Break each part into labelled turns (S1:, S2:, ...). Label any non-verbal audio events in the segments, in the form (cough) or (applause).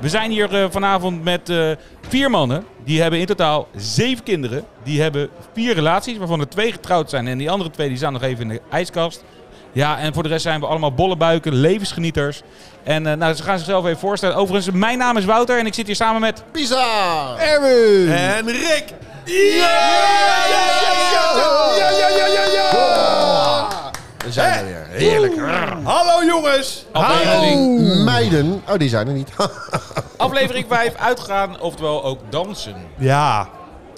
S1: We zijn hier eh, vanavond met eh, vier mannen. Die hebben in totaal zeven kinderen. Die hebben vier relaties, waarvan er twee getrouwd zijn. En die andere twee die staan nog even in de ijskast. Ja, en voor de rest zijn we allemaal bolle buiken, levensgenieters. En eh, nou, ze gaan zichzelf even voorstellen. Overigens, mijn naam is Wouter en ik zit hier samen met...
S2: Pisa!
S3: Erwin!
S4: En Rick!
S2: We zijn er weer. Heerlijk.
S4: Hallo jongens!
S1: Aflevering,
S2: oh. Meiden. Oh, die zijn er niet. (laughs)
S1: aflevering 5, uitgaan, oftewel ook dansen.
S3: Ja.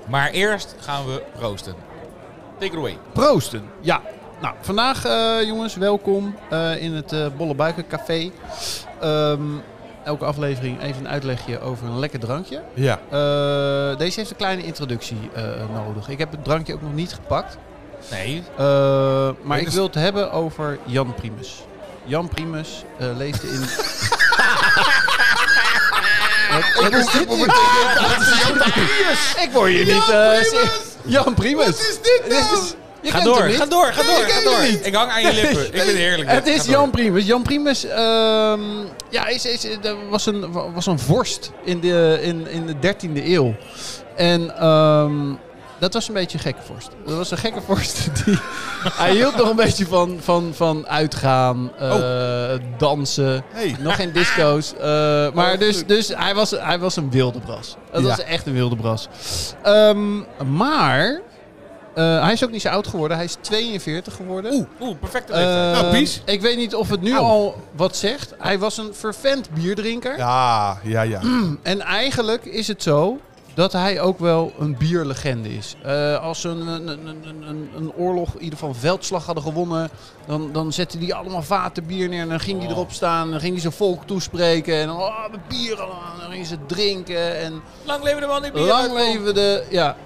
S1: Maar eerst gaan we proosten. Take it away.
S3: Proosten.
S5: Ja, nou vandaag eh, jongens, welkom eh, in het eh Bolle Buikencafé. Ehm, elke aflevering even een uitlegje over een lekker drankje.
S3: Ja.
S5: Eh, deze heeft een kleine introductie eh, nodig. Ik heb het drankje ook nog niet gepakt.
S1: Nee,
S5: Eh, maar
S3: Dit
S5: ik
S3: is-
S5: wil het hebben over Jan Primus. Jan Primus eh, leefde (laughs) in... Wat, wat is dit nu? Ik word hier niet... eh, Jan Primus! Wat is dit nou? je
S1: Ga
S5: kent hem
S1: door,
S5: niet.
S1: ga door, ga door, ga door. Ik hang aan je lippen. Ik vind het heerlijk.
S5: Het is
S1: Ga door.
S5: Jan Primus. Jan Primus ehm, ja, is, is, er was, een, was een vorst in de, in, in de 13e eeuw. En ehm, dat was een beetje een gekke vorst. Dat was een gekke (laughs) vorst. Die, hij hield nog een beetje van, van, van uitgaan, eh,
S1: Oh.
S5: dansen.
S3: Hey.
S5: Nog geen disco's. eh, maar
S3: Oh,
S5: dus,
S3: goed.
S5: dus hij, was, hij was een wilde bras. Dat
S3: Ja.
S5: was echt een wilde bras. Ehm, maar eh, hij is ook niet zo oud geworden. Hij is 42 geworden.
S1: Oeh, perfecte leeftijd.
S5: Eh,
S3: Nou, Pies.
S5: Ik weet niet of het nu al wat zegt. Hij was een vervent bierdrinker.
S3: Ja, ja, ja.
S5: En eigenlijk is het zo dat hij ook wel een bierlegende is. Eh, als ze een, een, een, een- een, een oorlog, in ieder geval een veldslag hadden gewonnen... dan, dan zette hij allemaal vaten bier neer en dan ging hij erop staan. Dan ging hij zijn volk toespreken. En dan, oh, met bier allemaal. En dan gingen ze drinken en...
S1: Lang leven de man die bier
S5: Lang
S1: uitkomt.
S5: leven de... Ja.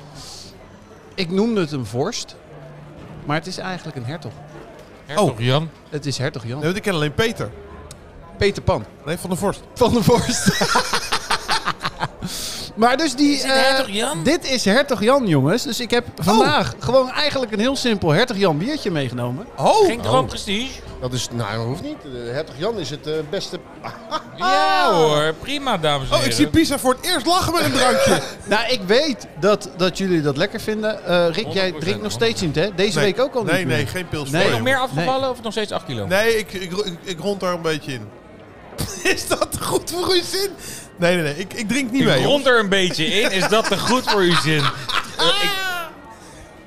S5: Ik noemde het een vorst. Maar het is eigenlijk een hertog.
S1: Hertog
S5: Oh.
S1: Jan.
S5: Het is hertog Jan.
S3: Nee, want ik ken alleen Peter.
S5: Peter Pan.
S3: Nee, van de Vorst.
S5: Van de Vorst. maar dus die. eh,
S1: Jan?
S5: dit is Hertog Jan, jongens. Dus ik heb vandaag gewoon eigenlijk een heel simpel Hertog Jan biertje meegenomen.
S3: (laughs) Oh!
S1: Ging er ook prestige?
S2: Dat is, nou, dat hoeft niet. De Hertog Jan is het eh, beste.
S1: Ja hoor, prima dames en
S3: Oh, ik Oh, zie
S1: heren.
S3: Pisa voor het eerst lachen met een
S2: (laughs)
S3: drankje.
S5: Nou, ik weet dat, dat jullie dat lekker vinden. Eh, Rick, jij
S1: 100%,
S5: drinkt nog steeds niet, hè? Deze week ook al
S3: nee,
S5: niet.
S3: Nee,
S5: meer.
S3: geen pils
S5: Nee.
S3: voor
S1: nog
S3: je.
S1: meer afgevallen of nog steeds 8 kilo?
S3: Nee, ik, ik, ik, ik rond daar een beetje in. (laughs) Is dat goed voor uw zin? Nee, nee, nee. Ik, ik drink niet
S1: Ik
S3: mee.
S1: rond er een beetje in. Is dat te goed voor uw
S3: (laughs)
S1: zin?
S3: hoor.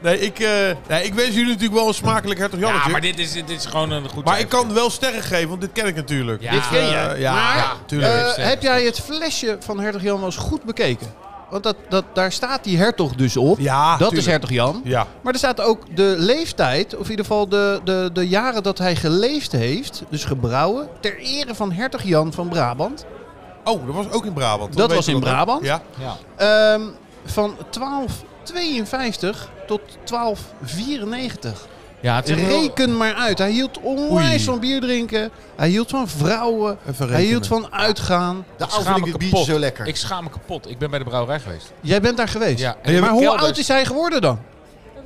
S3: Nee, ik, eh, nee, ik wens jullie natuurlijk wel een smakelijk hertog
S1: Ja,
S3: Jannetje.
S1: maar dit is, dit is gewoon een goed
S3: Maar ik
S1: cijfer.
S3: kan wel sterren geven, want dit ken ik natuurlijk.
S1: Ja.
S5: Dit ken
S3: Eh,
S5: jij.
S3: ja,
S5: maar
S3: ja, tuurlijk.
S5: eh,
S1: Zeker.
S5: heb jij het flesje van Hertog Jan wel eens goed bekeken? Want dat, dat, daar staat die hertog dus op.
S3: Ja,
S5: dat
S3: tuurlijk.
S5: is Hertog Jan.
S3: Ja.
S5: Maar er staat ook de leeftijd, of in ieder geval de, de, de jaren dat hij geleefd heeft, dus gebrouwen, ter ere van hertog Jan van Brabant.
S3: Oh, dat was ook in Brabant.
S5: Dat
S3: weet
S5: was
S3: je
S5: in
S3: ook.
S5: Brabant.
S3: Ja.
S5: Ehm, van 1252 tot 1294.
S1: Ja, het is een heel-
S5: Reken maar uit. Hij hield onwijs
S3: Oei.
S5: van bier drinken. Hij hield van vrouwen.
S3: Even
S5: Hij
S3: rekenen.
S5: hield van uitgaan.
S2: De
S1: ik schaam
S2: oude
S1: me
S2: bier
S1: kapot.
S2: zo lekker.
S1: Ik schaam me kapot. Ik ben bij de brouwerij geweest.
S5: Jij bent daar geweest.
S1: Ja.
S5: Maar hoe oud is hij geworden dan?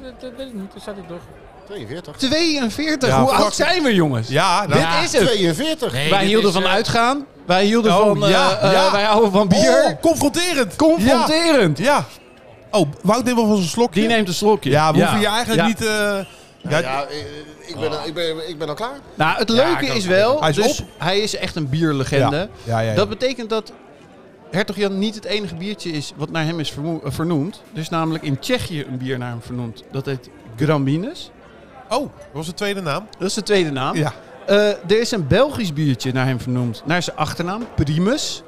S1: Dat, dat weet ik niet, daar staat ik toch.
S2: 42.
S5: 42.
S3: Ja,
S5: hoe
S3: fuck.
S5: oud zijn we, jongens?
S3: Ja, nou. daar-
S5: Dit is het.
S2: 42.
S1: Nee,
S5: wij
S1: dit
S5: hielden
S1: is,
S5: van
S1: eh,
S5: uitgaan. Wij hielden
S3: Oh,
S5: van. eh,
S3: ja,
S5: eh,
S3: ja.
S5: wij houden van bier.
S3: Oh, confronterend.
S5: Confronterend.
S3: Ja. ja. Oh, Wout neemt wel van zijn slokje.
S5: Die neemt een slokje.
S3: Ja, we hoeven je eigenlijk
S5: Ja.
S3: niet... eh, ja,
S2: Ja, eh, ik ben, al- ik, ben, ik ben al klaar.
S5: Nou, het
S1: Ja,
S5: leuke
S1: ik ook.
S5: is wel.
S3: Hij is
S5: dus
S3: op.
S5: hij is echt een bierlegende.
S3: Ja. Ja, ja, ja.
S5: Dat betekent dat Hertog Jan niet het enige biertje is wat naar hem is vermo- eh, vernoemd. Dus namelijk in Tsjechië een bier naar hem vernoemd. Dat heet Gramines.
S3: Oh, dat was de tweede naam.
S5: Dat is de tweede naam.
S3: Ja.
S5: Eh, er is een Belgisch biertje naar hem vernoemd. Naar zijn achternaam, Primus.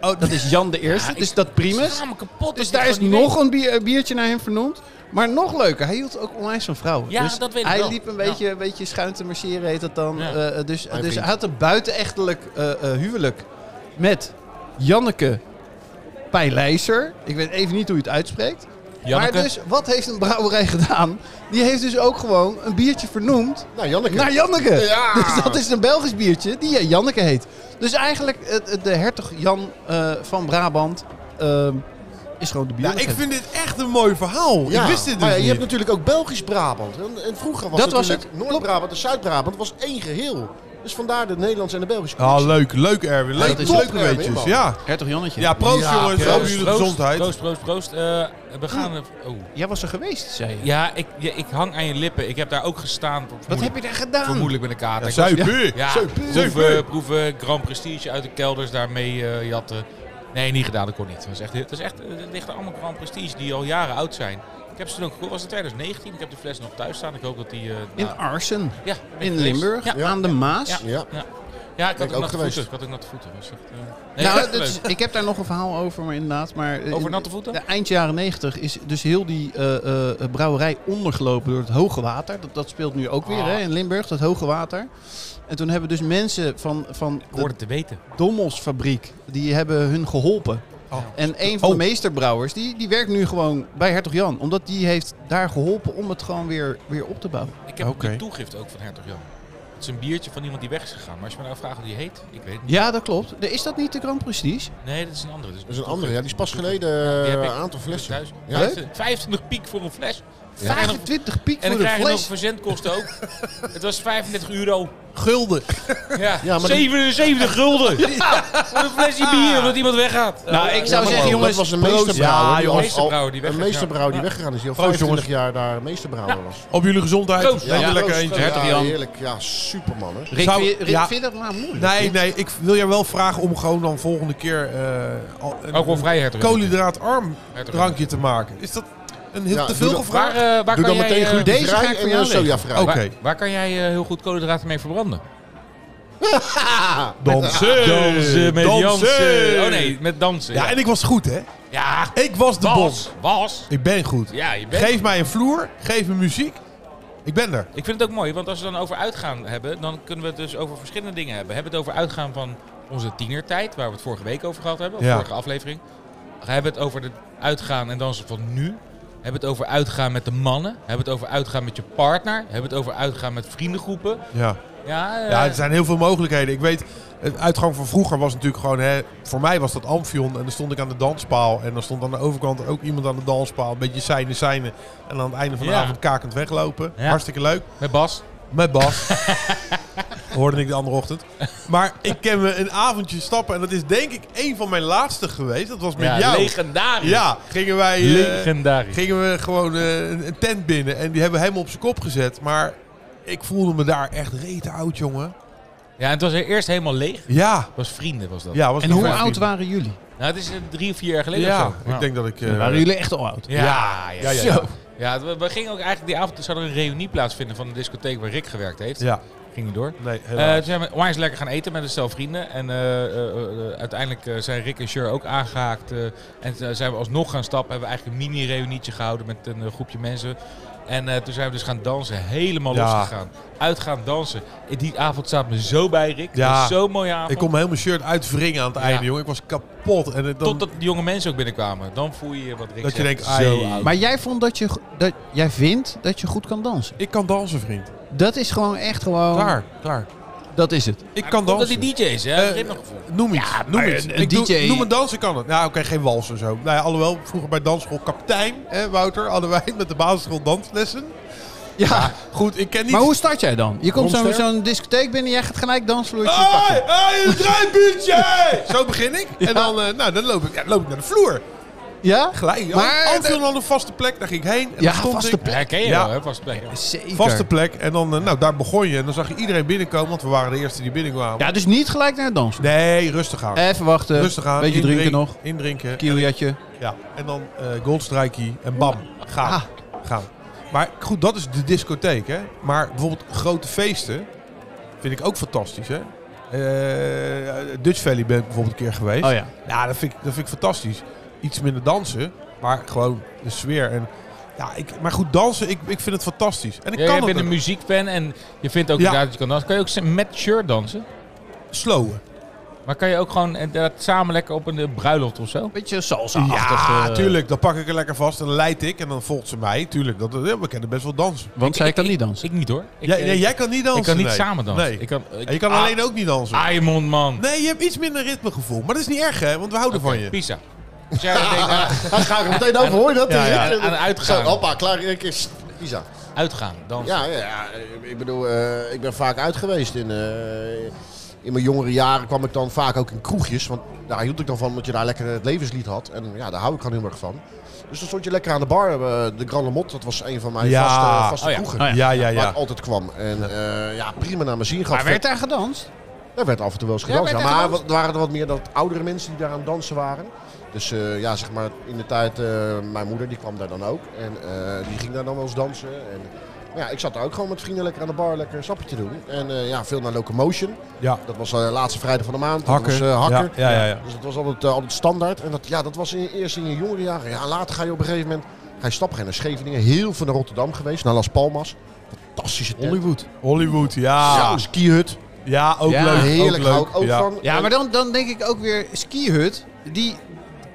S3: Oh,
S5: Dat is Jan de Eerste.
S1: Ja, ik-
S5: dus dat
S1: Ik
S5: Primus.
S1: schaam me kapot.
S5: Dus
S1: dat
S5: daar
S1: ik
S5: is
S1: gewoon niet
S5: nog een bier- eh, biertje naar hem vernoemd. Maar nog leuker, hij hield ook onwijs van vrouwen.
S1: Ja,
S5: dus
S1: dat weet ik
S5: hij
S1: wel.
S5: liep een
S1: Ja.
S5: beetje, een beetje schuin te marcheren, heet dat dan.
S1: Ja.
S5: Eh, dus
S2: Mijn
S5: dus hij
S2: vriend.
S5: had een buitenechtelijk eh, eh, huwelijk met Janneke Pijlijzer. Ik weet even niet hoe je het uitspreekt.
S1: weet. Janneke.
S5: Maar dus, wat heeft een brouwerij gedaan? Die heeft dus ook gewoon een biertje vernoemd
S2: Nou, Janneke.
S5: naar Janneke.
S2: Ja.
S5: (laughs) Dus dat is een Belgisch biertje die eh, Janneke heet. Dus eigenlijk het- het- de hertog Jan eh, van Brabant ehm, is gewoon de bier.
S3: Ja, ik vind dit echt een mooi verhaal.
S2: Ja,
S3: Ik wist dit
S2: maar
S3: dus
S2: ja, je hebt
S3: niet.
S2: natuurlijk ook Belgisch Brabant. En, en vroeger was
S5: Dat was
S2: natuurlijk Noord-Brabant en Zuid-Brabant was één geheel. Dus vandaar de Nederlandse en de Belgische
S3: Ah,
S2: koers.
S3: leuk. Leuk, Erwin.
S5: dat
S3: Leuk,
S5: is
S3: leuke
S2: leuk, Erwin,
S3: weetjes.
S2: man.
S3: Ja.
S5: Hertog Jannetje.
S3: ja, proost
S2: Ja,
S3: jongens.
S2: proost,
S3: Over jullie gezondheid.
S1: Proost, proost, proost. Eh, we gaan... er- Oh.
S5: Jij was er geweest, zei je.
S1: Ja, ik, ja, ik hang aan je lippen. Ik heb daar ook gestaan.
S5: Wat heb je daar gedaan?
S1: Vermoedelijk met een kater.
S3: Ja,
S1: Ik was-
S3: Zuipen.
S1: Ja, proeven,
S3: Zuipen.
S1: proeven Grand Prestige uit de kelders daarmee eh, jatten. Nee, niet gedaan, dat kon niet. Dat is echt, het, is echt, eh, het ligt er allemaal Grand Prestige die al jaren oud zijn. Ik heb ze toen ook gekocht. was het 2019? Ik heb de fles nog thuis staan. Ik hoop dat die... eh,
S5: In
S1: nou,
S5: Arsen,
S1: ja, ben
S5: in
S1: ik geweest.
S5: Limburg,
S1: Ja,
S5: aan de Maas.
S1: Ja.
S2: Ja.
S1: ja ik, had
S2: ik
S1: ook
S2: ook
S1: natte
S2: geweest.
S1: voeten. ik had ook natte voeten. Was echt, eh, nee,
S5: Nou,
S1: echt
S5: dat is-
S1: leuk.
S5: ik heb daar nog een verhaal over, maar inderdaad. Maar eh,
S1: Over
S5: in-
S1: natte voeten?
S5: de eind jaren 90 is dus heel die eh, eh, brouwerij ondergelopen door het hoge water. Dat, dat speelt nu ook weer
S1: Ah.
S5: hè, in Limburg, dat hoge water. En toen hebben dus mensen van, van
S1: Ik
S5: de
S1: hoorde te weten.
S5: Dommelsfabriek, die hebben hun geholpen.
S1: Oh.
S5: En een van de meesterbrouwers, die, die werkt nu gewoon bij Hertog Jan. Omdat die heeft daar geholpen om het gewoon weer, weer op te bouwen.
S1: Ik heb
S3: Oké.
S1: de toegift ook van Hertog Jan. Het is een biertje van iemand die weg is gegaan. Maar als je me nou vraagt hoe die heet, ik weet het niet.
S5: Ja, dat klopt. Is dat niet de Grand Prestige?
S1: Nee, dat is een andere.
S2: Dat is een andere, ja. Die is pas
S1: Toegift.
S2: geleden
S1: Die
S2: eh,
S1: heb
S2: een
S1: ik.
S2: aantal flessen.
S1: Thuis.
S2: Ja?
S1: 25 25 piek voor een fles. En dan-
S5: 25 piek
S1: En
S5: voor
S1: dan
S5: de
S1: krijg je nog
S5: fles.
S1: verzendkosten ook. Het was 35 euro.
S3: Gulden.
S1: Ja,
S2: Ja, maar
S1: 77 gulden. Voor een flesje bier omdat iemand weggaat.
S5: Nou, ik zou
S2: Ja, maar
S5: zeggen,
S2: dat
S5: jongens,
S2: was een
S5: proost.
S2: meesterbrouwer.
S3: Ja,
S2: die
S3: jongens.
S2: al-
S1: Meesterbrouwer die
S2: Een
S1: weggegaan.
S2: meesterbrouwer die
S1: Ja.
S2: weggegaan is. Die al
S3: Proost,
S2: 25 jaar daar meesterbrouwer was.
S3: Op jullie gezondheid.
S1: Proost.
S3: Neem er
S5: Ja,
S3: lekker
S2: proost.
S3: eentje.
S5: Hertog
S2: Ja,
S5: Jan.
S2: heerlijk. Ja, superman, hè.
S5: Rick,
S3: Zou-
S5: vind je- Rick,
S3: ja.
S5: vind je dat nou moeilijk?
S3: Nee, nee, ik wil jou wel vragen om gewoon dan volgende keer eh, al- een,
S1: Alcoholvrij
S3: een
S1: hertog.
S3: koolhydraatarm
S1: Hertog.
S3: drankje te maken. Is dat een heel
S2: Ja,
S3: te veel
S2: doe dat-
S1: Waar,
S3: gevraagd?
S1: eh, waar,
S2: Doe
S1: kan
S2: dan
S1: jij,
S2: meteen
S1: eh,
S2: glutenvrij
S5: deze ga ik
S2: en
S5: voor jou
S2: eh,
S5: leggen.
S2: sojavrij.
S3: Oké.
S1: waar, waar kan jij eh, heel goed koolhydraten mee verbranden? eh,
S3: (laughs) Dansen.
S1: Oh nee, met dansen.
S3: Ja,
S1: Ja,
S3: en ik was goed, hè?
S1: ja.
S3: Ik was de bom.
S1: was. Was.
S3: Ik ben goed.
S1: Ja, je bent...
S3: Geef mij een vloer, geef me muziek. Ik ben er.
S1: Ik vind het ook mooi, want als we dan over uitgaan hebben, dan kunnen we het dus over verschillende dingen hebben. We hebben het over uitgaan van onze tienertijd, waar we het vorige week over gehad hebben, of
S3: Ja.
S1: vorige aflevering. We hebben het over het uitgaan en dansen van nu. We hebben het over uitgaan met de mannen. We hebben het over uitgaan met je partner. We hebben het over uitgaan met vriendengroepen.
S3: Ja.
S1: Ja, eh,
S3: ja, er zijn heel veel mogelijkheden. Ik weet, het uitgang van vroeger was natuurlijk gewoon... Hè, voor mij was dat Amphion en dan stond ik aan de danspaal. En dan stond aan de overkant ook iemand aan de danspaal. Een beetje seinen, seinen. En aan het einde van de
S1: Ja.
S3: avond kakend weglopen.
S1: Ja.
S3: Hartstikke leuk.
S1: met Bas. (laughs)
S3: Met Bas. Hoorde ik de andere ochtend. Maar ik ken me een avondje stappen. En dat is denk ik een van mijn laatste geweest. Dat was met
S1: Ja,
S3: jou.
S1: legendarisch.
S3: Ja, gingen wij... eh,
S1: Legendarisch.
S3: gingen we gewoon eh, een een tent binnen. En die hebben we helemaal op zijn kop gezet. Maar ik voelde me daar echt rete oud, jongen.
S1: Ja, het was er eerst helemaal leeg.
S3: Ja.
S1: Het was vrienden, was dat.
S3: ja was
S5: En
S3: nog
S5: hoe
S3: wel
S5: oud
S3: vrienden.
S5: waren jullie?
S1: Nou, het is eh, drie of vier jaar geleden
S3: Ja,
S1: of zo.
S3: ik denk dat ik... eh,
S5: waren jullie echt al oud?
S1: Ja, ja, ja.
S3: ja,
S1: ja. Ja, we, we gingen ook eigenlijk die avond zou er een reunie plaatsvinden van de discotheek waar Rick gewerkt heeft.
S3: Ja,
S1: Ging niet door.
S3: nee,
S1: Eh
S3: helaas.
S1: toen zijn we onwijs lekker gaan eten met een stel vrienden. En eh, eh, eh, eh, uiteindelijk eh, zijn Rick en Sjur ook aangehaakt. eh, en toen zijn we alsnog gaan stappen. Hebben we eigenlijk een mini-reunietje gehouden met een eh, groepje mensen. En eh, toen zijn we dus gaan dansen. Helemaal
S3: Ja.
S1: losgegaan. Uit gaan dansen. Eh, Die avond staat me zo bij, Rick.
S3: Ja.
S1: Dat was Zo'n mooie avond.
S3: ik kon me heel mijn shirt uitwringen aan
S1: Ja.
S3: het einde, jongen. Ik was kapot. En het- dan,
S1: Totdat de jonge mensen ook binnenkwamen. Dan voel je wat Rick
S3: dat je
S1: zegt.
S3: denkt,
S1: Zo
S3: ai,
S1: oud.
S5: Maar jij, vond dat je, go- dat, jij vindt dat je goed kan dansen.
S3: ik kan dansen, vriend.
S5: Dat is gewoon echt gewoon...
S3: Klaar, klaar.
S5: Dat is het.
S3: Ik kan
S1: Omdat
S3: dansen.
S1: die DJ's, hè?
S3: Eh,
S1: ritmegevoel.
S3: Noem iets, noem iets.
S5: een
S3: ik doe-
S5: DJ
S3: noem een dansen kan het. Nou, oké, geen wals en zo. Nou ja, alhoewel, vroeger bij dansschool kapitein, hè, Wouter, hadden wij met de basisschool danslessen.
S5: Ja.
S3: Goed, ik ken niet...
S5: Maar hoe start jij dan? Je komt zo'n
S2: Rondster?
S5: zo'n discotheek binnen, jij gaat gelijk dansvloertje
S3: Hoi,
S5: pakken.
S3: hoi, een druimputje! Zo begin ik. En dan, eh, nou, dan loop ik, ja, loop ik naar de vloer.
S5: Ja?
S3: Gelijk.
S5: Maar-
S3: Maar, Anfield had een vaste plek, daar ging ik heen. En
S5: Ja,
S3: dan stond
S5: vaste
S3: ik,
S5: plek.
S1: Ja, ken je
S3: Ja.
S1: wel, hè? Vast plek.
S5: Zeker.
S3: Vaste plek. En dan, eh, nou, daar begon je. En dan zag je iedereen binnenkomen, want we waren de eerste die binnenkwamen.
S5: Ja, dus niet gelijk naar het dansvloer.
S3: Nee, rustig aan.
S5: Even wachten.
S3: rustig aan.
S5: Beetje
S3: Indrink-
S5: drinken nog.
S3: Indrinken.
S5: Kieljaatje.
S3: Ja. En dan eh goldstrikey en bam. Gaan.
S5: Ah.
S3: Gaan. Maar goed, dat is de discotheek, hè. Maar bijvoorbeeld grote feesten vind ik ook fantastisch, hè. Eh, Dutch Valley ben ik bijvoorbeeld een keer geweest.
S5: Oh ja.
S3: Ja, dat vind, ik, dat vind ik fantastisch. Iets minder dansen, maar gewoon de sfeer. En, ja, ik, maar goed, dansen, ik, ik vind het fantastisch. En ik
S1: Ja, jij
S3: kan het
S1: bent een
S3: ook.
S1: muziekfan en je vindt ook
S3: Ja.
S1: inderdaad dat je kan dansen. Kan je ook met shirt dansen?
S3: slowen.
S1: Maar kan je ook gewoon inderdaad samen lekker op een eh, bruiloft of zo?
S5: Beetje salsa-achtig.
S3: Ja,
S5: eh,
S3: tuurlijk. Dan pak ik er lekker vast en dan leid ik en dan volgt ze mij. Tuurlijk, dat, ja, we kennen best wel dansen.
S5: Want zij kan niet dansen.
S1: Ik niet hoor. Ik,
S3: jij,
S1: eh,
S3: nee, jij kan niet dansen.
S1: ik kan niet
S3: nee.
S1: samen dansen.
S3: Nee.
S1: Ik kan, ik,
S3: En je kan
S1: Ah,
S3: alleen ook niet dansen.
S1: Aimond, man.
S3: Nee, je hebt iets minder ritmegevoel. Maar dat is niet erg, hè? Want we houden
S1: Oké,
S3: van je.
S1: Pizza. Als
S3: (laughs)
S1: jij dat denkt,
S2: Daar ga ik er meteen over, hoor je dat?
S3: Ja, ja,
S1: aan- aan uitgaan.
S2: Zo, hoppa, klaar. Ik is Isa.
S1: Uitgaan, dansen.
S2: Ja, ja, ja, ik bedoel, eh, ik ben vaak uit geweest. In, eh, in mijn jongere jaren kwam ik dan vaak ook in kroegjes. Want daar hield ik dan van, omdat je daar lekker het levenslied had. En ja, daar hou ik gewoon heel erg van. Dus dan stond je lekker aan de bar. eh, De Grand Lamont, dat was een van mijn
S3: Ja.
S2: vaste, vaste
S1: Oh ja.
S2: kroegen.
S5: Oh
S3: Ja, ja,
S2: Waar
S3: ja.
S2: ik altijd kwam. En eh, ja, prima naar mijn zin gehad.
S5: Maar werd daar gedanst?
S2: Er werd af en toe wel eens
S5: Ja,
S2: gedanst.
S5: werd
S2: Ja,
S5: er
S2: maar
S5: gedanst?
S2: wat- er waren er wat meer dat oudere mensen die daar aan het dansen waren. Dus eh, ja, zeg maar in de tijd, eh, mijn moeder die kwam daar dan ook. En eh, die ging daar dan wel eens dansen. En, maar ja, ik zat daar ook gewoon met vrienden lekker aan de bar lekker een sapje te doen. En eh, ja, veel naar Locomotion.
S3: Ja.
S2: Dat was de laatste vrijdag van de maand.
S3: Hakker.
S2: Dat was eh, hakker.
S3: Ja, ja, ja, ja.
S2: Dus dat was altijd, eh, altijd standaard. En dat, ja, dat was in, eerst in je jongere jaren. Ja, later ga je op een gegeven moment ga je stappen gaan naar Scheveningen. Heel veel naar Rotterdam geweest, naar Las Palmas. Fantastische tent.
S5: Hollywood.
S3: Hollywood,
S2: Ja,
S3: ja.
S2: skihut.
S3: Ah. Ja, ook
S5: Ja,
S3: leuk. ook
S2: Heerlijk,
S3: leuk.
S2: hou ik ook
S3: ja.
S2: van.
S5: Ja,
S2: En-
S5: maar dan, dan denk ik ook weer skihut. Die,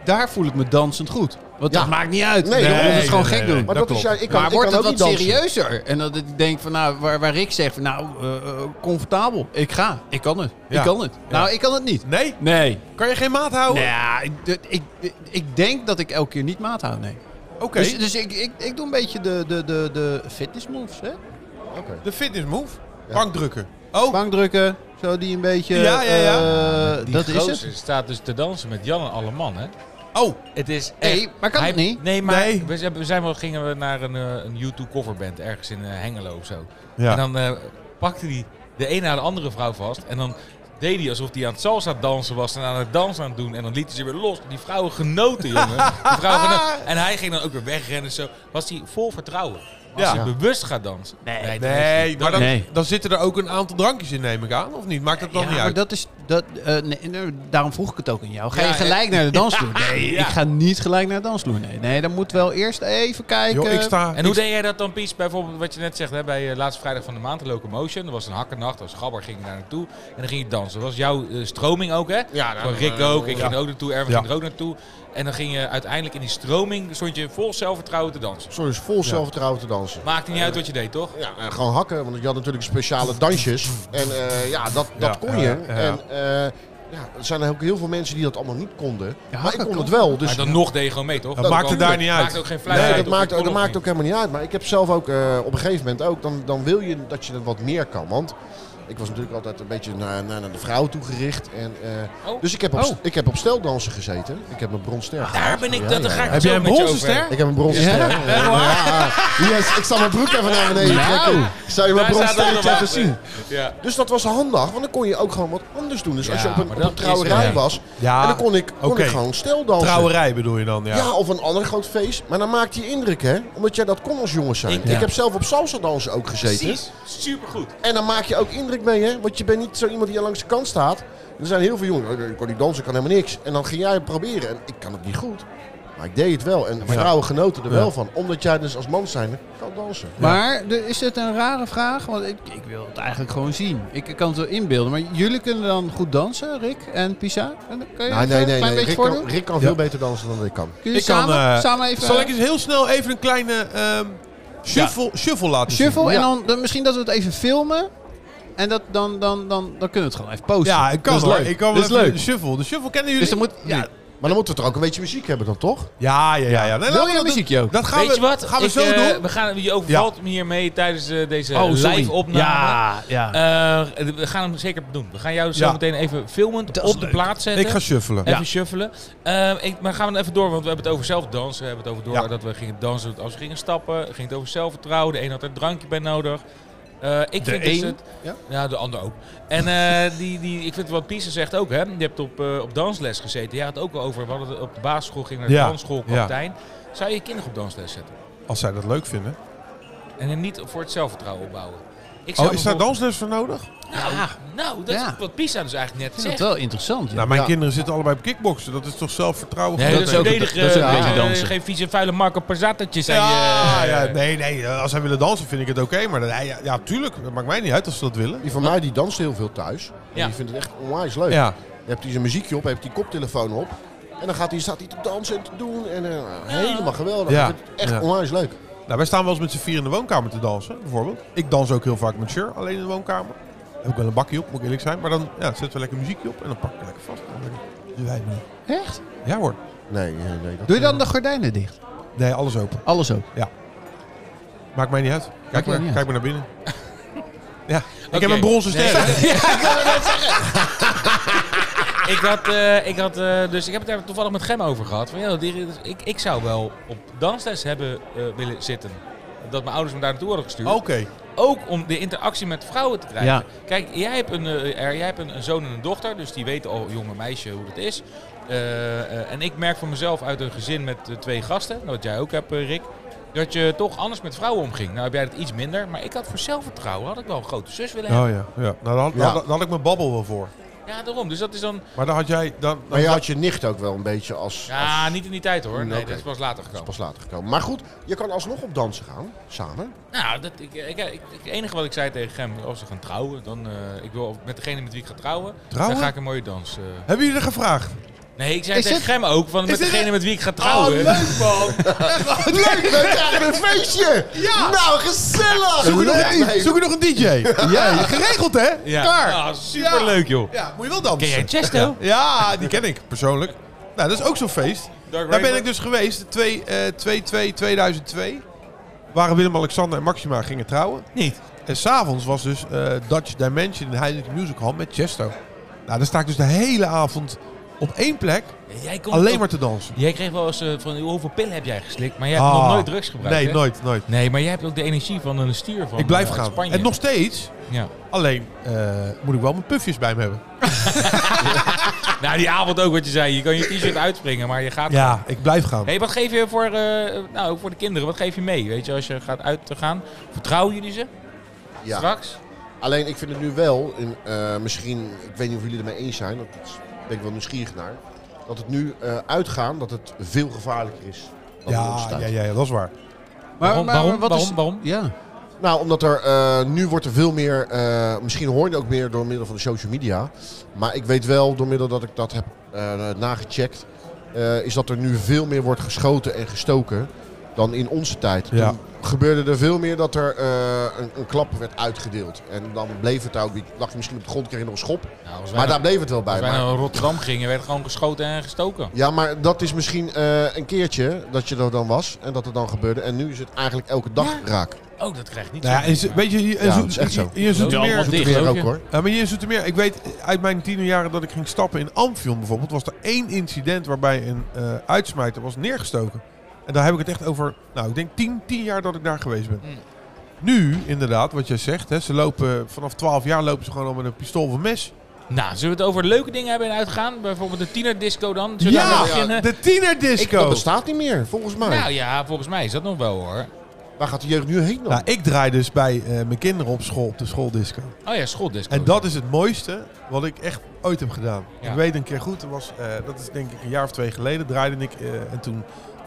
S5: daar voel ik me dansend goed. Want
S2: Ja.
S5: dat maakt niet uit.
S2: Nee,
S5: Nee,
S2: dat
S5: dat
S2: is
S5: is gewoon gek doen.
S2: Maar dat, is, ja, ik kan,
S5: maar
S2: ik
S5: wordt
S2: kan
S5: het
S2: ook
S5: wat
S2: niet dansen.
S5: serieuzer? En dat ik denk van, nou, waar, waar Rick zegt van, nou, eh, eh, comfortabel. Ik ga. Ik kan het.
S3: Ja.
S5: Ik kan het. Nou, ik kan het niet.
S3: Nee?
S5: Nee.
S3: Kan je geen maat houden?
S5: Nou, ik, d- ik, ik, ik denk dat ik elke keer niet maat hou, nee.
S3: Oké.
S5: Dus, dus ik, ik, ik doe een beetje de, de, de, de fitness moves, hè?
S2: Oké.
S3: De fitness move.
S2: Ja.
S3: Bankdrukken. Oh,
S5: Bankdrukken, zo die een beetje...
S3: Ja, ja, ja.
S5: eh, dat is het.
S1: gozer staat dus te dansen met Jan en alle man, hè?
S3: oh.
S1: Het is echt...
S5: Nee, maar kan
S1: Hij-
S5: het niet?
S1: Nee, maar
S3: Nee.
S1: we zijn, we zijn wel, gingen we naar een, eh, een U2 coverband ergens in eh, Hengelo of zo.
S3: Ja.
S1: En dan eh, pakte hij de een na de andere vrouw vast. En dan deed hij alsof hij aan het salsa dansen was en aan het dansen aan het doen. En dan liet hij ze weer los. Die vrouwen genoten, jongen. Die vrouwen genoten.
S3: (laughs)
S1: En hij ging dan ook weer wegrennen en zo. Was hij vol vertrouwen. Als
S3: Ja.
S1: hij bewust gaat dansen. Nee, dan heeft hij-
S3: Nee, maar dan,
S5: Nee.
S3: dan zitten er ook een aantal drankjes in, neem ik aan, of niet? Maakt dat dan
S5: Ja,
S3: niet
S5: maar
S3: uit?
S5: dat is... Dat, eh, nee, nee, daarom vroeg ik het ook aan jou. Ga
S1: Ja,
S5: je gelijk naar de dansvloer? Nee,
S1: Ja.
S5: ik ga niet gelijk naar de dansvloer. Nee, nee, dan moet wel eerst even kijken.
S3: Joh, ik sta...
S1: En hoe deed jij dat dan, Pies? Bijvoorbeeld wat je net zegt, hè, bij eh, laatste vrijdag van de maand, de Locomotion. Er was een hakkernacht, als gabber ging je daar naartoe. En dan ging je dansen. Dat was jouw eh, stroming ook, hè?
S2: Ja, nou,
S1: Van Rick
S2: eh,
S1: ook, ik ging er ook naartoe, Erwin
S3: Ja.
S1: ging er ook naartoe. En dan ging je uiteindelijk in die stroming, stond je vol zelfvertrouwen te dansen.
S2: Sorry, is vol zelfvertrouwen te dansen.
S1: Maakte niet uit wat je deed, toch?
S3: Dus-
S2: Ja, en gewoon hakken, want je had natuurlijk speciale dansjes. En eh, ja, dat, dat
S3: Ja,
S2: kon
S3: ja,
S2: je.
S3: ja, ja.
S2: En eh, ja, er zijn ook heel veel mensen die dat allemaal niet konden. maar ik
S5: hakken
S2: kon het
S5: kan.
S2: wel. Dus
S1: maar dan nog deed je gewoon mee, toch?
S3: Dat maakte
S1: kwam-
S3: daar niet uit.
S1: Maakte ook geen fluit
S2: Nee,
S1: uit,
S2: dat,
S1: of je
S2: maakt, ook- dat
S1: kon
S2: maakt
S1: nog
S2: ook helemaal niet uit. Maar ik heb zelf ook eh, op een gegeven moment ook, dan, dan wil je dat je er wat meer kan. Want ik was natuurlijk altijd een beetje naar, naar, naar de vrouw toegericht. En, eh,
S1: Oh.
S2: Dus ik heb, op,
S5: Oh.
S2: ik heb op steldansen gezeten. Ik heb mijn bronster.
S1: niet. Daar ben ik, dat daar ga ik
S3: Heb
S1: het zo
S3: jij een
S1: met je
S3: bronzen
S1: over hebben.
S3: ster?
S2: Ik heb een bronzen
S5: Ja?
S2: ster. Ja, ja. Yes, ik zal mijn broek even naar beneden
S5: Nou.
S2: trekken. Zou je mijn
S1: Daar
S2: bronzen
S1: staat
S2: sterretje
S1: allemaal-
S2: even zien?
S1: Ja.
S2: Dus dat was handig, want dan kon je ook gewoon wat anders doen. Dus als je
S1: Ja,
S2: op een,
S1: maar
S2: op
S1: dat
S2: een
S1: is
S2: trouwerij
S1: er.
S2: was,
S3: Ja,
S2: en dan kon ik, kon
S3: oké.
S2: ik gewoon stel dansen.
S3: Trouwerij bedoel je dan, ja.
S2: Ja. of een ander groot feest. Maar dan maakt die indruk, hè? Omdat jij dat kon als jongens zijn.
S1: Ik-
S2: Ik,
S1: ja.
S2: heb zelf op salsa dansen ook gezeten.
S1: Precies, supergoed.
S2: En dan maak je ook indruk mee, hè? Want je bent niet zo iemand die aan langs de kant staat. Er zijn heel veel jongens, "Eh, ik kan niet dansen, ik kan helemaal niks. En dan ging jij het proberen. En ik kan het niet goed. Maar ik deed het wel. En vrouwen genoten er
S3: Ja.
S2: wel van. Omdat jij dus als man zijnde kan dansen.
S5: Maar de- is dit een rare vraag? Want ik, ik wil het eigenlijk gewoon zien. Ik kan het wel inbeelden. Maar jullie kunnen dan goed dansen, Rick en Pisa? En dan kan je
S2: Nee,
S5: het
S2: nee, nee.
S5: een klein
S2: nee.
S5: beetje
S2: Rick,
S5: voordoen?
S2: kan, Rick kan
S3: Ja.
S2: veel beter dansen dan ik kan.
S5: Kun je
S3: Ik kan,
S5: samen,
S3: eh,
S5: samen even...
S3: Zal ik eens heel snel even een kleine ehm, shuffle, shuffle laten
S5: Shuffle
S2: Ja.
S5: en dan, dan misschien dat we het even filmen. En dat, dan, dan, dan, dan kunnen we het gewoon even
S3: zien?
S5: posten.
S3: Ja, ik kan
S5: dat is
S3: wel.
S5: leuk.
S3: Ik kan wel
S5: dat is
S3: even
S5: leuk.
S3: de shuffle. De shuffle kennen jullie?
S5: Dus dan moet... Ja,
S2: Maar dan moeten we toch ook een beetje muziek hebben dan, toch?
S3: Ja, ja, ja. ja. Nee,
S5: wil
S3: laten
S5: je
S3: we
S5: een
S3: dat-
S5: muziekje ook?
S3: Dat gaan
S1: Weet
S3: we,
S1: je wat?
S3: Gaan we
S1: Ik,
S3: zo
S1: eh,
S3: doen. Oh,
S1: We gaan, je overvalt me hiermee tijdens eh, deze live opname.
S5: Oh, Ja, ja.
S1: Eh, we gaan hem zeker doen. We gaan jou zo
S3: Ja.
S1: meteen even filmend
S5: Dat is
S1: op de
S5: leuk.
S1: plaats zetten.
S3: Ik ga shuffelen.
S1: Even
S5: Ja.
S1: shuffelen. Eh, ik, maar gaan we dan even door, want we hebben het over zelfdansen. We hebben het over door
S3: Ja.
S1: dat we gingen dansen als we gingen stappen. Ging het over zelfvertrouwen. De een had er een drankje bij nodig. Eh, ik
S5: De
S1: vind
S5: een?
S1: dus het, ja?
S2: Ja.
S1: de ander ook. En eh, die, die, ik vind wat Pisa zegt ook, hè. Je hebt op, eh, op dansles gezeten. Je had het ook al over, we hadden het op de basisschool, ging naar de
S3: Ja.
S1: dansschool,
S3: Ja.
S1: kapitein. Zou je je kinderen op dansles zetten?
S3: Als zij dat leuk vinden.
S1: En hem niet voor het zelfvertrouwen opbouwen. Ik zou
S3: Oh, is daar
S1: bijvoorbeeld-
S3: dansles voor nodig?
S1: Nou, nou, dat
S5: Ja.
S1: is wat Pisa dus eigenlijk
S5: ik
S1: net
S5: vind
S1: zegt.
S5: dat wel interessant. ja.
S3: Nou, mijn
S2: Ja.
S3: kinderen zitten allebei op kickboksen. Dat is toch zelfvertrouwen?
S1: Nee,
S5: Dat
S1: dat,
S5: is
S1: is
S5: ook-
S1: verdedig,
S5: dat is ook
S1: eh,
S5: een beetje
S1: eh,
S5: dansen.
S1: Geen vieze vuile Marco eh, Pazzatatjes.
S3: Ja,
S1: en je-
S3: ja, nee, nee. Als zij willen dansen vind ik het oké. maar dan- ja, ja, tuurlijk. Dat maakt mij niet uit als ze dat willen.
S2: Die van mij die danst heel veel thuis. En
S1: Ja.
S2: die vindt het echt onwijs leuk.
S3: Ja.
S2: Je hebt hij zijn muziekje op, heeft hij koptelefoon op. En dan gaat hij, staat hij te dansen en te doen. En eh, helemaal geweldig.
S3: Ja.
S2: Ik vind het echt
S3: Ja.
S2: onwijs leuk.
S3: Nou, wij staan wel eens met z'n vier in de woonkamer te dansen, bijvoorbeeld. Ik dans ook heel vaak met Cher alleen in de woonkamer. Heb ik wel een bakje op, moet ik eerlijk zijn. Maar dan ja, zetten we lekker muziekje op en dan pak ik lekker vast. Dan lekker- doe wij het niet.
S5: Echt?
S3: Ja hoor.
S2: Nee, eh, nee. Dat,
S5: Doe je dan de gordijnen dicht?
S3: Nee, alles open.
S5: Alles ook.
S3: Maakt mij niet uit. Kijk maar,
S5: er niet
S3: kijk maar naar binnen. ja, ik heb
S1: Oké.
S3: een bronzen ster.
S1: Nee, (laughs) ja, ik wilde net zeggen. (laughs) ik had, eh, ik had eh, dus ik heb het daar toevallig met Gem over gehad. Van, joh, die- ik, ik zou wel op dansles hebben eh, willen zitten. Dat mijn ouders me daar naartoe hadden gestuurd.
S3: (laughs) Oké.
S1: Ook om de interactie met vrouwen te krijgen.
S5: Ja.
S1: Kijk, jij hebt, een, eh, er- jij hebt een, een zoon en een dochter, dus die weten al, jonge meisje, hoe dat is. Eh, eh, en ik merk voor mezelf uit een gezin met eh, twee gasten, wat jij ook hebt, eh, Rick, dat je toch anders met vrouwen omging. Nou heb jij dat iets minder, maar ik had voor zelfvertrouwen, had ik wel een grote zus willen hebben.
S3: Oh ja. ja. Nou, daar had,
S2: Ja.
S3: daar- daar had ik mijn babbel wel voor.
S1: Ja, daarom. Dus dat is dan
S3: Maar dan had jij... Dan, dan
S2: Maar je had je nicht ook wel een beetje als... als-
S1: Ja, Ah, niet in die tijd hoor. Nee,
S2: Nee, oké.
S1: dat is pas later
S2: Dat is
S1: gekomen.
S2: pas later gekomen. Maar goed, je kan alsnog op dansen gaan, samen.
S1: Nou, dat, ik, ik, ik- het enige wat ik zei tegen hem, als we gaan trouwen, dan eh, ik wil met degene met wie ik ga trouwen,
S3: Trouwen?
S1: dan ga ik een mooie dans. eh.
S3: Hebben jullie er gevraagd?
S1: Nee, ik zei
S5: Is
S1: tegen
S5: dit-
S1: hem ook, van met
S5: dit
S1: degene
S5: een-
S1: met wie ik ga trouwen.
S5: Oh, man.
S2: Leuk, (laughs) we krijgen een feestje!
S5: Ja.
S2: Nou, gezellig!
S3: Zoek je nog
S2: Leuk.
S3: een, i- zoek je nog een DJ? ja, geregeld hè?
S1: ja.
S3: Klaar.
S1: Ah, superleuk joh.
S3: Ja, moet je wel
S1: Ken jij
S3: dansen.
S1: Chesto?
S3: Ja, die ken ik persoonlijk. Nou, dat is ook zo'n feest.
S1: Dark
S3: Daar ben
S1: Rainbow?
S3: ik dus geweest. 2-2-2002 waren Willem-Alexander en Maxima gingen trouwen.
S1: Niet.
S3: En s'avonds was dus eh, Dutch Dimension in de Heineken Music Hall met Chesto. Nou, daar sta ik dus de hele avond op één plek
S1: Jij kon
S3: alleen
S1: ook-
S3: maar te dansen.
S1: Jij kreeg wel eens eh, van hoeveel pillen heb jij geslikt, maar jij hebt
S3: Ah.
S1: nog nooit drugs gebruikt.
S3: Nee,
S1: hè?
S3: nooit, nooit.
S1: Nee, maar jij hebt ook de energie van een stier van
S3: Ik blijf
S1: eh, uit
S3: gaan.
S1: Spanje.
S3: En nog steeds,
S1: Ja.
S3: alleen eh, moet ik wel mijn puffjes bij me hebben.
S1: Nou, die avond ook wat je zei. Je kan je t-shirt
S3: (laughs)
S1: uitspringen, maar je gaat
S3: Ja, ik blijf gaan.
S1: Hey, wat geef je voor, eh, nou, ook voor de kinderen, wat geef je mee? Weet je, als je gaat uit te gaan, vertrouwen jullie ze
S2: Ja.
S1: straks?
S2: Alleen ik vind het nu wel, in, eh, misschien, ik weet niet of jullie ermee eens zijn, dat is- daar ben ik wel nieuwsgierig naar. Dat het nu eh, uitgaan, dat het veel gevaarlijker is. dan er
S3: Ja,
S2: ontstaat.
S3: ja, ja, ja, dat is waar.
S1: Waarom- waarom-
S5: wat is-
S1: waarom- waarom?
S5: Ja.
S2: Nou, omdat er eh, nu wordt er veel meer, eh, misschien hoor je het ook meer door middel van de social media. Maar ik weet wel, door middel dat ik dat heb eh, nagecheckt, eh, is dat er nu veel meer wordt geschoten en gestoken dan in onze tijd.
S3: Ja.
S2: Toen gebeurde er veel meer dat er eh, een, een klap werd uitgedeeld. En dan bleef het daar ook, niet. lag je misschien op de grond, kreeg je nog een schop.
S1: Nou, als wij,
S2: Maar
S1: naar,
S2: daar bleef het wel bij.
S1: als wij
S2: Maar-
S1: naar Rotterdam gingen, werd gewoon geschoten en gestoken.
S2: Ja, maar dat is misschien eh, een keertje dat je er dan was en dat het dan gebeurde. En nu is het eigenlijk elke dag
S1: Ja.
S2: raak.
S1: Oh, dat krijgt niet
S3: Nou ja,
S1: zo.
S3: in Z- weet je, in
S2: Ja,
S3: Zo-
S2: dat is echt zo.
S3: in- in Zoetermeer...
S1: Wel,
S2: Dat
S1: Dicht,
S2: weer
S1: geloof
S2: ook
S1: je?
S2: hoor.
S3: Ja, maar hier in Eh, Zoetermeer, ik weet uit mijn tienerjaren dat ik ging stappen in Amfion bijvoorbeeld, was er één incident waarbij een eh uitsmijter was neergestoken. En daar heb ik het echt over, nou ik denk 10, 10 jaar dat ik daar geweest ben.
S1: Mm.
S3: Nu, inderdaad, wat jij zegt, hè, ze lopen, vanaf 12 jaar lopen ze gewoon al met een pistool of een mes.
S1: Nou, zullen we het over leuke dingen hebben en uitgaan? Bijvoorbeeld de tienerdisco dan? Zullen we daarmee beginnen?
S3: de tienerdisco!
S2: Dat bestaat niet meer, volgens mij.
S1: Nou ja, volgens mij is dat nog wel hoor.
S2: Waar gaat de jeugd nu heen dan?
S3: nou, ik draai dus bij eh, mijn kinderen op school, op de schooldisco.
S1: Oh ja, schooldisco.
S3: En dat is het mooiste wat ik echt ooit heb gedaan.
S1: Ja.
S3: Ik weet een keer goed, er was, eh, dat is denk ik een jaar of twee geleden, draaide ik eh, en toen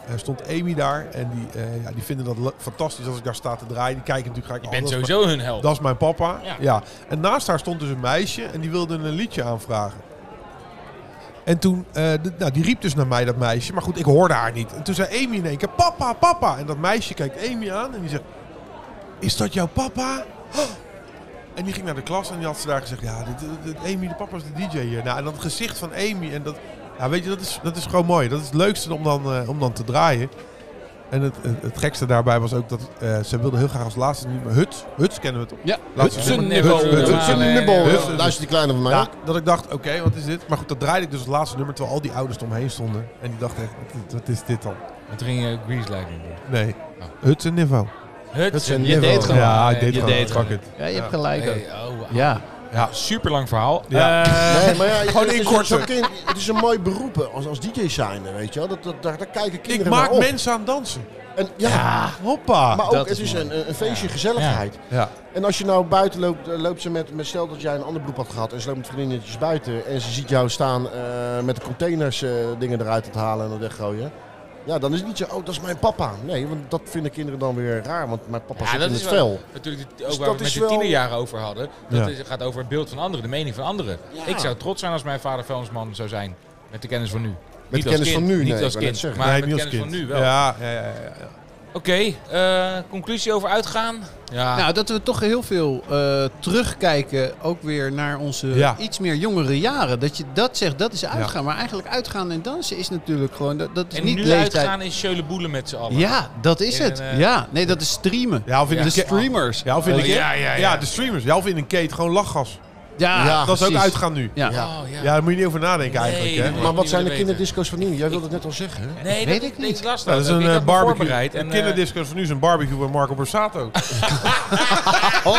S3: eh, stond Amy daar. En die, eh, ja, die vinden dat le- fantastisch als ik daar sta te draaien. Die kijken natuurlijk gelijk,
S1: Je
S3: oh,
S1: bent
S3: dat is
S1: sowieso hun held.
S3: mijn- Dat is mijn papa.
S1: Ja.
S3: Ja. En naast haar stond dus een meisje en die wilde een liedje aanvragen. En toen, eh, d- nou, die riep dus naar mij, dat meisje. Maar goed, ik hoorde haar niet. En toen zei Amy in één keer, papa, papa. En dat meisje kijkt Amy aan en die zegt, is dat jouw papa? En die ging naar de klas en die had ze daar gezegd, ja, dit, dit- dit- Amy, de papa is de DJ hier. Nou, en dat gezicht van Amy en dat, ja, weet je, dat is, dat is gewoon mooi. Dat is het leukste om dan, eh, om dan te draaien. En het, het, het gekste daarbij was ook dat eh, ze wilde heel graag als laatste niet meer Huts. Huts kennen we toch?
S5: Ja.
S3: Laatste
S1: Hudson
S3: nummer.
S1: Nibble.
S3: Hudson- Hudson-
S2: Dat is een
S1: nee,
S2: nibbel.
S1: nee,
S2: Ja,
S3: nee.
S2: eh, Luister die kleine van mij
S3: ja,
S2: ook.
S3: dat ik dacht, oké, wat is dit? Maar goed, dat draaide ik dus het laatste nummer, terwijl al die ouders eromheen stonden. En die dachten echt, wat, wat is dit dan?
S1: En toen ging je Grease Lightning doen.
S3: Nee, Huts en Niveau.
S1: Hudson,
S2: een
S1: je
S2: niveau.
S1: deed Oh. gewoon.
S3: Ja, ik deed
S1: je
S3: gewoon.
S1: deed
S3: Fuck
S1: gewoon.
S3: it.
S5: ja, je hebt gelijk. ook.
S1: Hey, oh, wauw.
S5: Ja.
S1: Super lang verhaal.
S3: Ja.
S1: Eh,
S2: Nee, maar
S1: (laughs)
S2: ja,
S3: gewoon
S2: het is-
S3: inkorten.
S2: zo'n kind- Het is een mooi beroep hè, als, als DJ zijnde, weet je wel. Dat, dat, daar, daar kijken kinderen
S3: Ik maak
S2: naar op.
S3: mensen aan dansen.
S2: En, ja,
S3: Hoppa.
S2: maar ook,
S5: dat
S2: het
S5: is
S2: is
S5: mooi.
S2: een, een- een feestje gezelligheid.
S3: ja.
S2: En als je nou buiten loopt, eh, loopt ze met, met stel dat jij een ander beroep had gehad en ze loopt met vriendinnetjes buiten en ze ziet jou staan eh, met de containers eh, dingen eruit aan het halen en het weggooien. Ja, dan is het niet zo, oh dat is mijn papa. Nee, want dat vinden kinderen dan weer raar, want mijn papa
S1: Ja,
S2: zit
S1: dat
S2: in
S1: is
S2: het
S1: wel-
S2: vel.
S1: Natuurlijk, ook
S2: (laughs) Dus
S1: waar
S2: dat
S1: we met
S2: is
S1: de
S2: wel-
S1: tienerjaren over hadden. Dat
S3: Ja.
S1: is, gaat over het beeld van anderen, de mening van anderen.
S2: Ja.
S1: Ik zou trots zijn als mijn vader vuilnisman zou zijn. Met de kennis van nu. Met
S2: de kennis van nu,
S1: Niet
S2: nee,
S1: als
S2: ik wou net
S1: kind,
S2: zeggen.
S1: maar
S3: nee,
S1: met
S3: niet
S1: de
S3: als
S1: kennis
S3: kind.
S1: van nu wel.
S3: Ja, ja, ja, ja, ja.
S1: Oké, eh, conclusie over uitgaan. Ja,
S5: Nou, dat we toch heel veel eh, terugkijken, ook weer naar onze
S3: Ja.
S5: iets meer jongere jaren. Dat je dat zegt, dat is uitgaan. Maar eigenlijk uitgaan en dansen is natuurlijk gewoon, dat, dat is
S1: en
S5: niet
S1: nu
S5: leeftijd.
S1: uitgaan is Sjöle Boelen met z'n allen.
S5: Ja, dat is
S1: In
S5: het.
S1: een, eh,
S5: ja, nee, dat is streamen.
S3: Ja, of in
S1: Ja.
S3: een
S5: De
S3: ke-
S5: streamers.
S3: Ja, of in
S1: Oh,
S3: een ke-
S1: ja, ja, ja.
S3: de streamers. Ja, of in een kate. Gewoon lachgas.
S5: Ja,
S2: Ja.
S3: dat is ook
S2: precies.
S3: uitgaan nu.
S5: ja.
S2: Ja.
S1: Oh, ja.
S3: Ja, daar moet je niet over nadenken
S1: Nee,
S3: eigenlijk.
S1: dat
S3: Hè?
S1: moet
S2: Maar
S1: ik
S2: wat
S1: niet
S2: zijn de
S1: willen weten.
S2: kinderdisco's van nu? Jij wilde het net al zeggen, hè?
S1: Nee,
S5: Weet
S1: dat
S5: ik
S1: niet.
S5: niet.
S1: lastig.
S3: Nou, dat is
S1: Ik
S3: een
S1: had
S3: eh,
S1: me
S3: barbecue.
S1: voorbereid
S3: Een
S1: en, eh,
S3: kinderdiscus van nu is een barbecue bij Marco Borsato.
S1: Oh!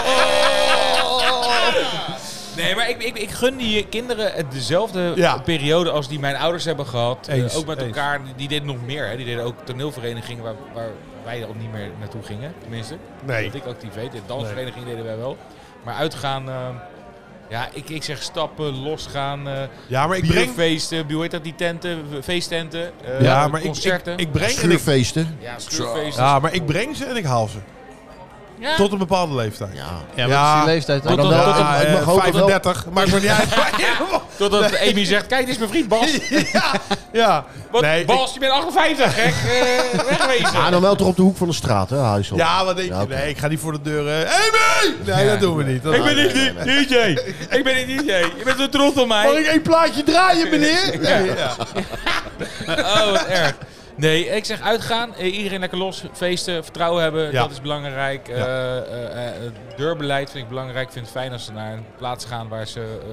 S1: Nee, maar ik, ik, ik gun die eh, kinderen het dezelfde
S3: Ja.
S1: periode als die mijn ouders hebben gehad. Eh,
S3: Eens,
S1: ook met
S3: eens.
S1: elkaar. Die, die deden nog meer. Hè. Die deden ook toneelverenigingen waar, waar wij al niet meer naartoe gingen. Tenminste,
S3: Nee.
S1: dat ik actief weet. De dansvereniging deden wij wel. Maar uitgaan, eh, ja, ik, ik zeg stappen, losgaan, eh
S3: Ja, maar ik breng...
S1: bierfeesten, hoe heet dat, die tenten, w- feesttenten, eh,
S3: Ja, maar ik, ik,
S1: concerten.
S3: ik breng... En ik,
S2: Schuurfeesten.
S1: ja, schuurfeesten.
S3: ja, maar ik breng ze en ik haal ze.
S1: Ja.
S3: Tot een bepaalde leeftijd.
S2: Ja.
S5: Ja,
S3: wat is die
S5: leeftijd
S1: ook? Tot- tot-
S3: Ja,
S2: ik
S3: eh,
S2: mag hopen wel-
S3: 35. Maakt me niet
S2: (laughs)
S3: uit.
S1: Totdat Amy zegt, kijk, dit is mijn vriend Bas.
S3: (laughs) ja.
S1: Wat,
S3: Nee, ik-
S1: Bas, je bent 58, gek. Eh, wegwezen.
S2: Ah, dan wel toch op de hoek van de straat, hè, Huisel?
S3: Ja, wat denk je?
S2: Ja, oké.
S3: Nee, ik ga niet voor de deur. eh, Amy! Nee,
S1: Ja,
S3: dat doen we niet. Dat
S1: Ik ben
S3: doen
S1: niet
S3: we
S1: die DJ. Ik ben niet DJ. Je bent zo trots op
S3: Mag ik
S1: mij.
S3: één plaatje draaien, meneer? (laughs) Ja, ja.
S1: Oh, wat erg. Nee, ik zeg uitgaan. Eh, Iedereen lekker los. Feesten, vertrouwen hebben.
S3: Ja.
S1: Dat is belangrijk. Eh eh, eh, het deurbeleid vind ik belangrijk. Ik vind het fijn als ze naar een plaats gaan waar ze eh,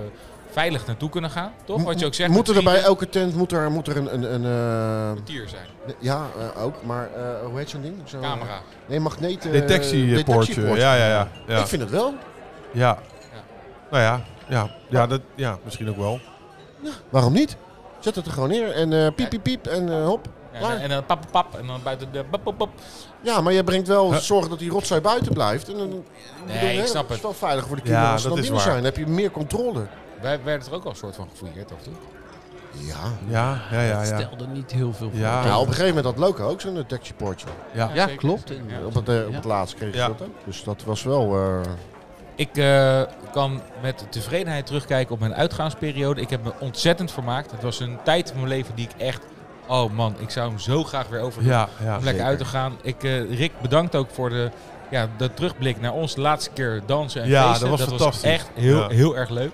S1: veilig naartoe kunnen gaan. Toch? Wat je ook zegt.
S2: Moet er
S1: met
S2: bij
S1: vrienden,
S2: elke tent moet er, moet er een... een, een eh,
S1: portier zijn.
S2: ja, eh, ook, maar eh, hoe heet zo'n ding?
S3: Oh.
S2: Zo,
S1: Camera.
S2: Nee, magneet... eh,
S3: Detectiepoortje.
S2: detectiepoortje.
S3: Ja, ja, ja. ja.
S2: Ik vind het wel.
S3: Ja. Nou ja, ja, ja, dat, ja, misschien ook wel.
S2: Waarom niet? Zet het er gewoon neer en eh, piep, piep, piep en eh, hop.
S1: Ja,
S2: Klaar.
S1: en, en dan pap, pap, pap. En dan buiten de pap, pap, pap.
S2: Ja, maar je brengt wel
S3: Huh?
S2: zorg dat die rotzooi buiten blijft. En dan, ik
S1: Nee,
S2: bedoel,
S1: ik
S2: hè,
S1: snap
S2: Het
S1: het.
S2: is wel veiliger voor de
S3: Ja,
S2: kinderen als ze
S3: dat
S2: dan
S3: is
S2: binnen
S3: waar.
S2: zijn. Dan heb je meer controle.
S1: Wij werden er ook al een soort van gefouilleerd, of niet?
S2: Ja.
S3: Ja, ja, ja, ja.
S5: stelde niet heel veel voor.
S3: Ja,
S2: Ja, op een gegeven moment had Loco ook zo'n detectiepoortje.
S3: ja.
S5: Ja,
S1: zeker.
S5: klopt.
S1: Ja.
S2: Op, het, eh, op het laatst kreeg je
S3: Ja.
S2: dat ook. Dus dat was wel... eh,
S1: Ik eh, kan met tevredenheid terugkijken op mijn uitgaansperiode. Ik heb me ontzettend vermaakt. Het was een tijd van mijn leven die ik echt... Oh man, ik zou hem zo graag weer over
S3: ja,
S1: om
S3: ja.
S1: lekker
S2: zeker.
S1: uit te gaan. Ik, eh, Rick, bedankt ook voor de, ja, de terugblik naar ons de laatste keer dansen en
S3: Ja,
S1: feesten.
S3: dat was fantastisch.
S1: echt heel,
S3: Ja.
S1: heel erg leuk.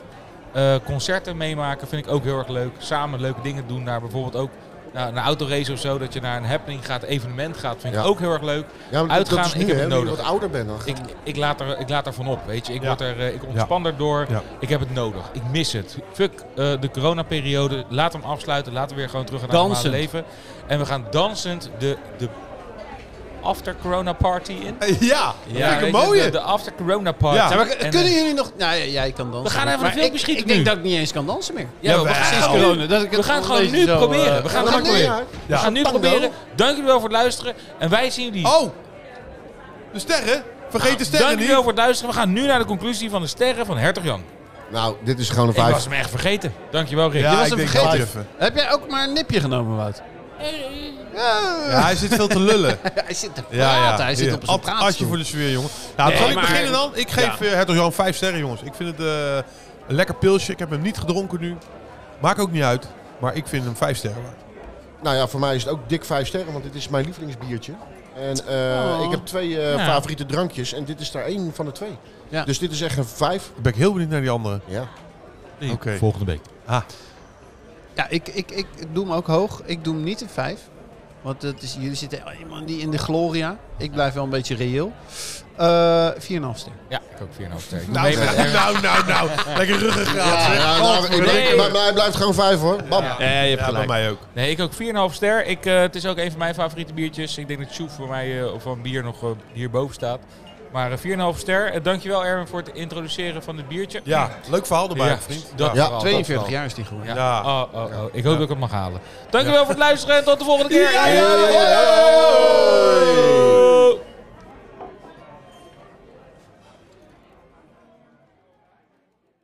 S1: Eh, concerten meemaken vind ik ook heel erg leuk. Samen leuke dingen doen naar bijvoorbeeld ook... nou, naar autorace of zo, dat je naar een happening gaat, evenement gaat, vind ik
S2: Ja.
S1: ook heel erg leuk.
S2: Ja, maar
S1: Uitgaan,
S2: dat is nu,
S1: ik heb
S2: hè,
S1: het
S2: nu je
S1: nodig.
S2: wat ouder bent dan.
S1: Ik, ik, laat er, ik laat er van op, weet je. Ik,
S3: Ja.
S1: word er, eh, ik ontspan erdoor.
S3: Ja.
S1: Ik heb het nodig. Ik mis het. Fuck eh, de coronaperiode. Laat hem afsluiten. Laten we weer gewoon terug gaan naar het normale
S5: Dansend.
S1: leven. En we gaan dansend de, de after-corona party in.
S3: Ja, vind ik
S1: weet
S3: een
S1: je, De,
S3: mooie.
S1: de after-corona party.
S3: Ja. Ja,
S5: maar
S1: En,
S5: kunnen
S1: eh,
S5: jullie nog... Nou, ja, jij kan dansen.
S1: We gaan even
S5: maar
S1: een filmpje
S5: ik-
S1: schieten
S5: Ik denk
S1: nu.
S5: dat ik niet eens kan dansen meer.
S1: ja, we,
S3: Jawel.
S1: gaan
S5: Sinds
S1: het nu-
S5: corona. Dat ik
S1: we gaan het gewoon
S5: een
S1: nu
S5: beetje zo,
S1: proberen.
S5: eh,
S1: We gaan het gewoon proberen. We gaan nu
S2: Tango.
S1: proberen. Dank jullie wel voor het luisteren. En wij zien jullie.
S3: Oh! De sterren? Vergeet de
S1: Nou, Dank
S3: sterren
S1: jullie wel
S3: niet.
S1: voor het luisteren. We gaan nu naar de conclusie van de sterren van Hertog Jan.
S2: Nou, dit is gewoon een
S1: Ik was
S2: vijf.
S1: hem echt vergeten. Dankjewel Rick.
S3: Ja,
S5: was
S3: ik
S5: hem
S3: denk
S5: vergeten.
S3: wel even.
S5: Heb jij ook maar een nipje genomen, Wout? (laughs)
S3: Ja, hij zit veel te
S1: (laughs)
S3: lullen.
S5: Hij zit te praten.
S3: Ja, ja.
S5: Hij zit
S3: Ja.
S5: op zijn
S3: Ad- Adje voor
S5: praatstoel.
S3: de sfeer, jongen. Nou,
S1: Nee,
S3: zal ik
S1: maar-
S3: beginnen dan? Ik geef eh, Hertog Jan vijf sterren, jongens. Ik vind het eh, een lekker pilsje. Ik heb hem niet gedronken nu. Maakt ook niet uit. Maar ik vind hem vijf sterren waard.
S2: Nou ja, voor mij is het ook dik vijf sterren, want dit is mijn lievelingsbiertje. En eh,
S5: Oh.
S2: ik heb twee eh,
S1: Ja.
S2: favoriete drankjes en dit is daar één van de twee.
S5: Ja.
S2: Dus dit is echt een vijf.
S3: Dan ben ik heel benieuwd naar die andere.
S2: Ja.
S1: Oké.
S3: Oké. Ah.
S1: Volgende week.
S5: Ja, ik, ik, ik doe hem ook hoog. Ik doe hem niet een 5. Want het is, jullie zitten oh, man, die in de gloria. Ik blijf wel een beetje reëel. Eh 4,5 ster.
S1: Ja, ik ook 4,5 sterren.
S3: Nou, nou, nou, nou. Lekker ruggengraat. zeg.
S2: Ja, nou, ik
S1: nee,
S2: denk-
S1: hoor.
S2: maar, maar hij blijft gewoon vijf hoor. Bam.
S1: Ja.
S3: Ja, je hebt
S5: gelijk.
S3: bij mij ook.
S1: Nee, ik ook 4,5 ster. Ik, eh, het is ook een van mijn favoriete biertjes. Ik denk dat Sjoef voor mij eh, of van bier nog eh, hierboven staat. Maar eh, 4,5 ster. Eh, dankjewel Erwin voor het introduceren van het biertje.
S3: Ja, leuk verhaal erbij,
S1: Ja,
S3: vriend.
S1: dat
S2: Ja,
S1: vooral,
S5: 42
S1: dat
S5: jaar is die geworden.
S1: vooral. Ja.
S3: Ja.
S1: Oh, oh, oh. Ik hoop dat ik het mag halen. Dankjewel voor het luisteren en tot de volgende keer.
S3: ja, ja, ja, ja.